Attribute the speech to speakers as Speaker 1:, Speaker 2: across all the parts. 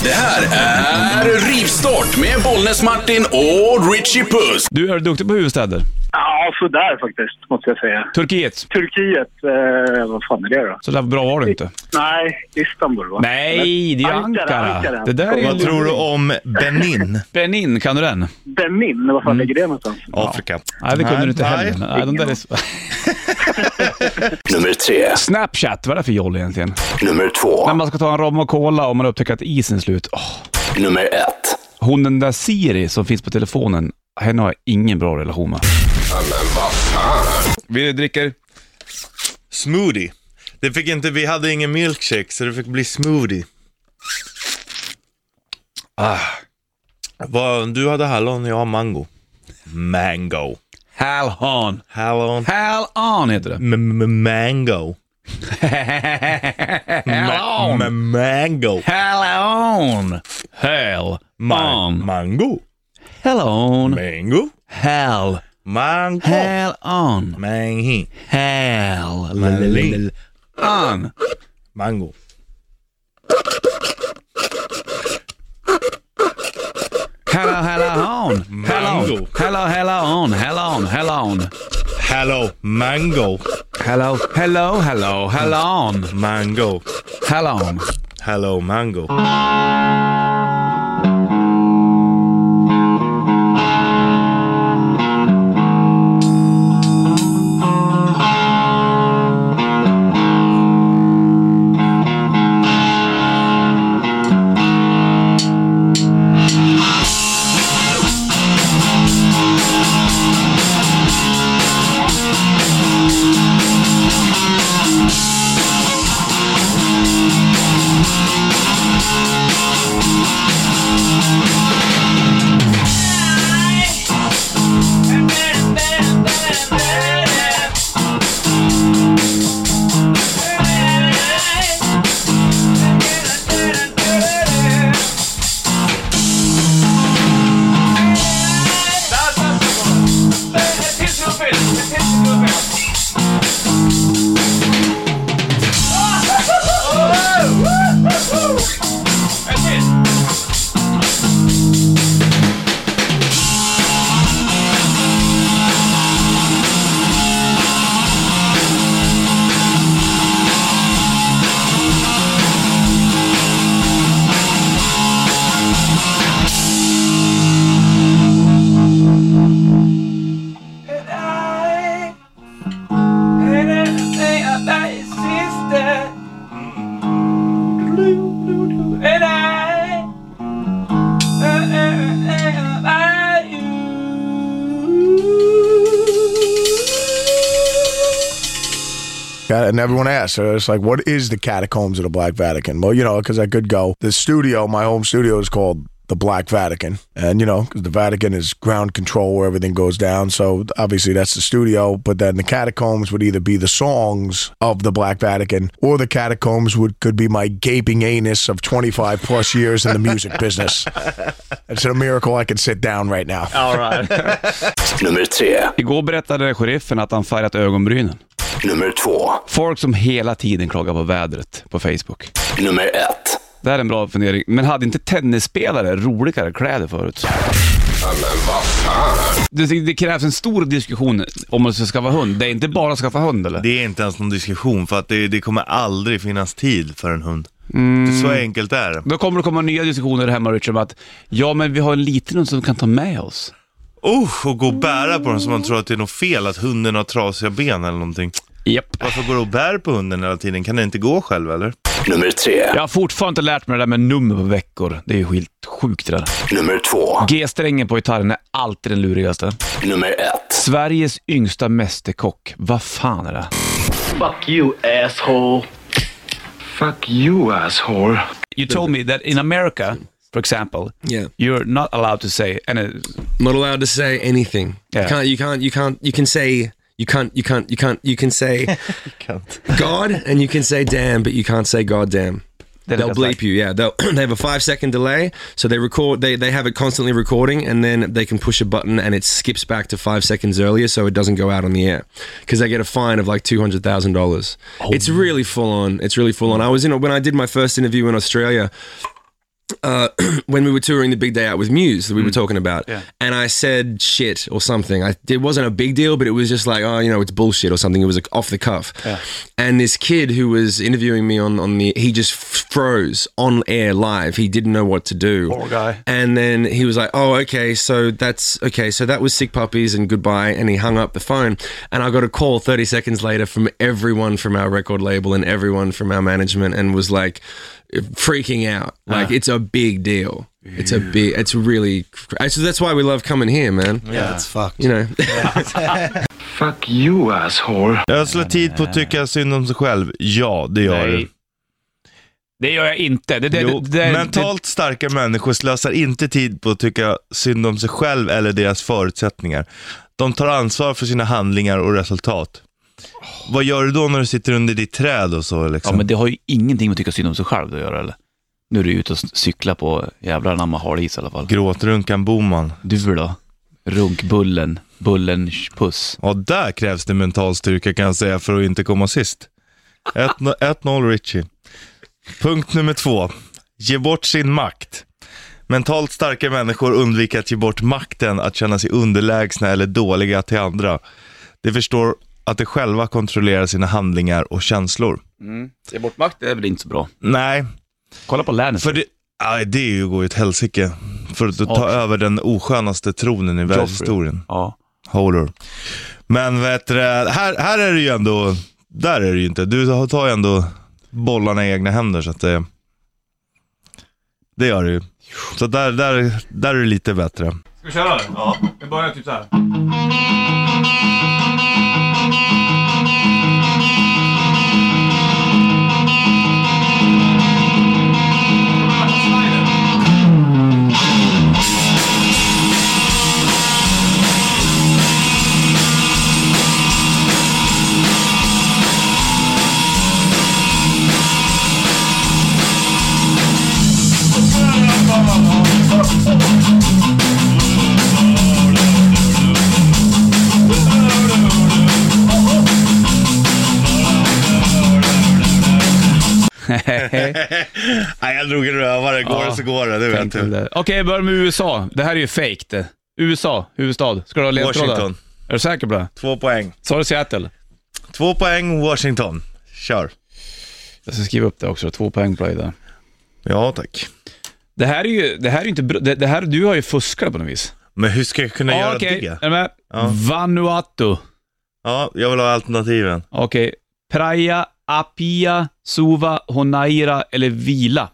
Speaker 1: Det här är Rivstart med Bollnäs-Martin och Richie Puss.
Speaker 2: Du, är du duktig på huvudstäder?
Speaker 3: Ja, sådär faktiskt, måste jag säga.
Speaker 2: Turkiet?
Speaker 3: Turkiet, eh, vad fan är det då?
Speaker 2: Så där bra var du inte.
Speaker 3: Nej, Istanbul va?
Speaker 2: Nej, det är Ankara. Det där är
Speaker 4: Vad
Speaker 2: ju-
Speaker 4: tror du om Benin?
Speaker 2: Benin, kan du den?
Speaker 3: Benin, var
Speaker 2: Mm.
Speaker 3: fan ligger det någonstans?
Speaker 4: Afrika.
Speaker 2: Nej, det kunde du inte heller.
Speaker 4: nej.
Speaker 2: Nej, de där är... s-
Speaker 1: Nummer tre.
Speaker 2: Snapchat, vad är det för joll egentligen?
Speaker 1: Nummer
Speaker 2: När
Speaker 1: två.
Speaker 2: man ska ta en rom och cola och man upptäcker att isen är slut. Åh.
Speaker 1: Nummer ett.
Speaker 2: Hon den där Siri som finns på telefonen, henne har jag ingen bra relation med. Vi dricker...
Speaker 4: Smoothie. Det fick inte, vi hade ingen milkshake så det fick bli smoothie. Ah. Vad, du hade hallon, jag har mango. Mango.
Speaker 2: Hal on.
Speaker 4: Hallon.
Speaker 2: Hal on heter det.
Speaker 4: M- m- Mango.
Speaker 2: Hal on.
Speaker 4: M- Mango.
Speaker 2: Mm. Hal on. Hal
Speaker 4: Ma-
Speaker 2: on.
Speaker 4: Mango.
Speaker 2: Hal on.
Speaker 4: Mango.
Speaker 2: Hal.
Speaker 4: Mango.
Speaker 2: Hal on.
Speaker 4: Mangi.
Speaker 2: Hal.
Speaker 4: Mango.
Speaker 2: On.
Speaker 4: Mango.
Speaker 2: Hello, hello on. Hello.
Speaker 4: Mango.
Speaker 2: Hello, hello on. Hello on. Hello on.
Speaker 4: Hello. Mango.
Speaker 2: Hello, hello, hello, hello on.
Speaker 4: Mango.
Speaker 2: Hello on.
Speaker 4: Hello mango.
Speaker 5: Yeah, and everyone asks, uh, it's like, what is the catacombs of the Black Vatican? Well, you know, because I could go. The studio, my home studio, is called the Black Vatican, and you know, 'cause the Vatican is ground control where everything goes down. So obviously that's the studio. But then the catacombs would either be the songs of the Black Vatican, or the catacombs would could be my gaping anus of 25 plus years in the music business. It's a miracle I can sit down right now.
Speaker 1: Nummer tre.
Speaker 2: Igår berättade sheriffen att han färgat ögonbrynen.
Speaker 1: Nummer två.
Speaker 2: Folk som hela tiden klagar på vädret på Facebook.
Speaker 1: Nummer ett.
Speaker 2: Det här är en bra fundering. Men hade inte tennisspelare roligare kläder förut? Det, det krävs en stor diskussion om man ska skaffa hund. Det är inte bara att skaffa hund eller?
Speaker 4: Det är inte ens någon diskussion för att det, det kommer aldrig finnas tid för en hund.
Speaker 2: Mm.
Speaker 4: Så enkelt är det.
Speaker 2: Då kommer det komma nya diskussioner hemma Richard, om att ja men vi har en liten hund som vi kan ta med oss.
Speaker 4: Usch, och gå och bära på den som man tror att det är något fel, att hunden har trasiga ben eller någonting.
Speaker 2: Japp.
Speaker 4: Varför går du och bär på hunden hela tiden? Kan den inte gå själv eller?
Speaker 1: Nummer tre.
Speaker 2: Jag har fortfarande inte lärt mig det där med nummer på veckor. Det är ju helt sjukt det där.
Speaker 1: Nummer två.
Speaker 2: G-strängen på gitarren är alltid den lurigaste.
Speaker 1: Nummer ett.
Speaker 2: Sveriges yngsta mästerkock. Vad fan är det?
Speaker 6: Fuck you, asshole. Fuck you, asshole.
Speaker 2: You told me that in America, for example,
Speaker 7: Yeah.
Speaker 2: you're not allowed to say any
Speaker 7: not allowed to say anything.
Speaker 2: Yeah.
Speaker 7: You can't. You can't. You can't. You can say. You can't. You can't. You can't. You can say God, and you can say damn, but you can't say God damn.
Speaker 2: Then it
Speaker 7: They'll
Speaker 2: goes back.
Speaker 7: bleep you. Yeah. They'll, they have a five second delay, so they record. They they have it constantly recording, and then they can push a button, and it skips back to five seconds earlier, so it doesn't go out on the air because they get a fine of like two hundred thousand dollars. It's really full on. It's really full on. I was in a, when I did my first interview in Australia uh, when we were touring the big day out with Muse that we were talking about,
Speaker 2: Mm. Yeah.
Speaker 7: and I said shit or something. I, it wasn't a big deal, but it was just like, oh, you know, it's bullshit or something. It was like off the cuff. And this kid who was interviewing me on on the, he just froze on air live. He didn't know what to do.
Speaker 2: Poor guy.
Speaker 7: And then he was like, "Oh, okay, so that's okay. So that was sick puppies and goodbye." And he hung up the phone. And I got a call 30 seconds later from everyone from our record label and everyone from our management, and was like freaking out. Like it's a big deal. It's a big. It's really. cr- So that's why we love coming here, man.
Speaker 8: Yeah, it's fucked.
Speaker 7: You know.
Speaker 6: Fuck you asshole.
Speaker 4: Ödsla tid på att tycka synd om sig själv. Ja, det gör
Speaker 2: Nej.
Speaker 4: du.
Speaker 2: Det gör jag inte. Det, det,
Speaker 4: Jo,
Speaker 2: det, det,
Speaker 4: mentalt starka människor slösar inte tid på att tycka synd om sig själv eller deras förutsättningar. De tar ansvar för sina handlingar och resultat. Vad gör du då när du sitter under ditt träd och så
Speaker 2: Ja,
Speaker 4: liksom?
Speaker 2: men det har ju ingenting med att tycka synd om sig själv att göra, eller? Nu är du ute och cyklar på jävlar anamma hal is i alla fall.
Speaker 4: Gråtrunkan Boman.
Speaker 2: Du då? Runkbullen, bullen, puss.
Speaker 4: Ja, där krävs det mental styrka kan jag säga för att inte komma sist. 1-0 1-0 Richie. Punkt nummer två. Ge bort sin makt. Mentalt starka människor undviker att ge bort makten att känna sig underlägsna eller dåliga till andra. De förstår att de själva kontrollerar sina handlingar och känslor.
Speaker 2: Ge bort makt är väl inte så bra.
Speaker 4: Nej,
Speaker 2: Kolla på Lannister.
Speaker 4: för det, aj, det är ju att gå i ett helsike. För att ta
Speaker 2: Okej.
Speaker 4: över den oskönaste tronen i världshistorien.
Speaker 2: Ja.
Speaker 4: Holor. Men vet du, här, här är det ju ändå, där är det ju inte. Du tar ju ändå bollarna i egna händer så att det, det gör du ju. Så där, där, där är det lite bättre.
Speaker 9: Ska vi köra? Ja. Vi börjar typ så här.
Speaker 4: Nej, jag drog en rövare. Går
Speaker 2: Ja.
Speaker 4: det så går det, det vet
Speaker 2: Tänkte väl
Speaker 4: du.
Speaker 2: det. Okej, jag börjar med USA. Det här är ju fejk det. USA, huvudstad. Ska du ha ledtrådar?
Speaker 4: Washington.
Speaker 2: Är du säker på det?
Speaker 4: Två poäng.
Speaker 2: Sa du Seattle?
Speaker 4: Två poäng Washington. Kör.
Speaker 2: Jag ska skriva upp det också. Två poäng på dig där.
Speaker 4: Ja tack.
Speaker 2: Det här är ju det här är ju inte bra. Det, det här, du har ju fuskat på något vis.
Speaker 4: Men hur ska jag kunna göra
Speaker 2: okej.
Speaker 4: det?
Speaker 2: Är du med?
Speaker 4: Ja.
Speaker 2: Vanuatu.
Speaker 4: Ja, jag vill ha alternativen.
Speaker 2: Okej. Praia, Apia, Suva, Honaira eller Vila.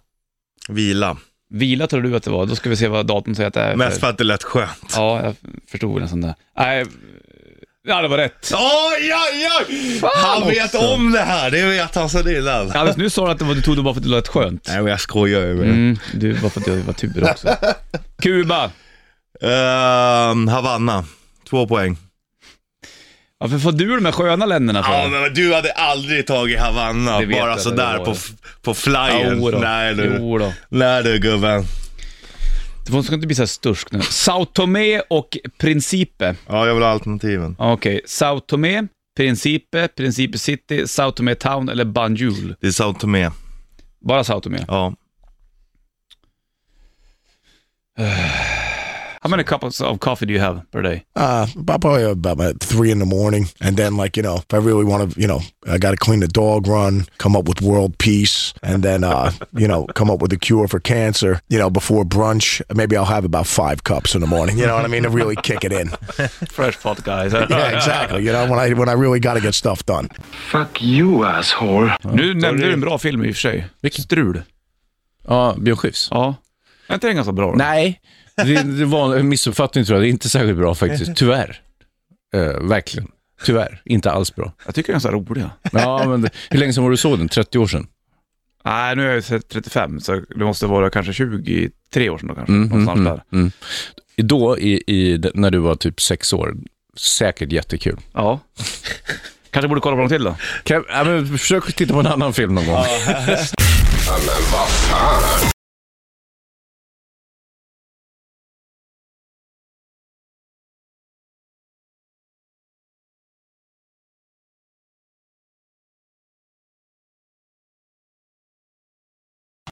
Speaker 4: Vila.
Speaker 2: Vila tror du att det var. Då ska vi se vad datorn säger att det är.
Speaker 4: Mest för att det lät skönt.
Speaker 2: Ja, jag förstod väl nästan det. Nej, ja, det var rätt.
Speaker 4: Oj, oj, oj! Han vet
Speaker 2: också.
Speaker 4: om det här, det vet han sedan innan.
Speaker 2: Alldeles nu sa du att det var, du tog det bara för att det lät skönt.
Speaker 4: Nej men jag skojar ju med
Speaker 2: Mm, du, bara för att jag var tur också. Kuba.
Speaker 4: Ehm, Havanna, två poäng.
Speaker 2: Varför får du de här sköna länderna för?
Speaker 4: Ja men du hade aldrig tagit Havanna
Speaker 2: Det vet
Speaker 4: bara
Speaker 2: jag, det
Speaker 4: sådär
Speaker 2: var
Speaker 4: på,
Speaker 2: det.
Speaker 4: f- på flyern.
Speaker 2: Jo då.
Speaker 4: Nej du.
Speaker 2: Jo då.
Speaker 4: Nej du gubben.
Speaker 2: Du får- ska inte bli så här stursk nu. Sao Tomé och Principe.
Speaker 4: Ja jag vill ha alternativen.
Speaker 2: Okej, Sao Tomé, Principe, Principe City, Sao Tomé Town eller Banjul.
Speaker 4: Det är Sao Tomé.
Speaker 2: Bara Sao Tomé.
Speaker 4: Ja.
Speaker 2: How many cups of coffee do you have per day?
Speaker 5: Uh, about probably about my three in the morning, and then like you know, if I really want to, you know, I got to clean the dog run, come up with world peace, and then uh, you know, come up with a cure for cancer. You know, before brunch, maybe I'll have about five cups in the morning. You know what I mean? To really kick it in.
Speaker 2: Fresh pot guys. eh?
Speaker 5: Yeah, exactly. You know, when I when I really got to get stuff done.
Speaker 6: Fuck you asshole.
Speaker 2: Nu nämnde du en bra film i och för sig. Vilken? Strul.
Speaker 8: Ja, Björn Skifs.
Speaker 2: Ja. Är inte den ganska bra? då?
Speaker 8: Nej, det, det var en missuppfattning tror jag. Det är inte särskilt bra faktiskt. Tyvärr. Eh, verkligen. Tyvärr. Inte alls bra.
Speaker 2: Jag tycker den är ganska rolig. ja.
Speaker 8: Ja, men det, hur länge sedan var du såg den? 30 år sedan?
Speaker 2: Nej, nu är jag ju 35, så det måste vara kanske 23 år sedan då kanske.
Speaker 8: Mm,
Speaker 2: någonstans
Speaker 8: mm,
Speaker 2: där.
Speaker 8: mm. Då, i, i, när du var typ sex år, säkert jättekul.
Speaker 2: Ja. kanske borde kolla på dem till då.
Speaker 8: Kan, ja, men försök titta på en annan film någon gång.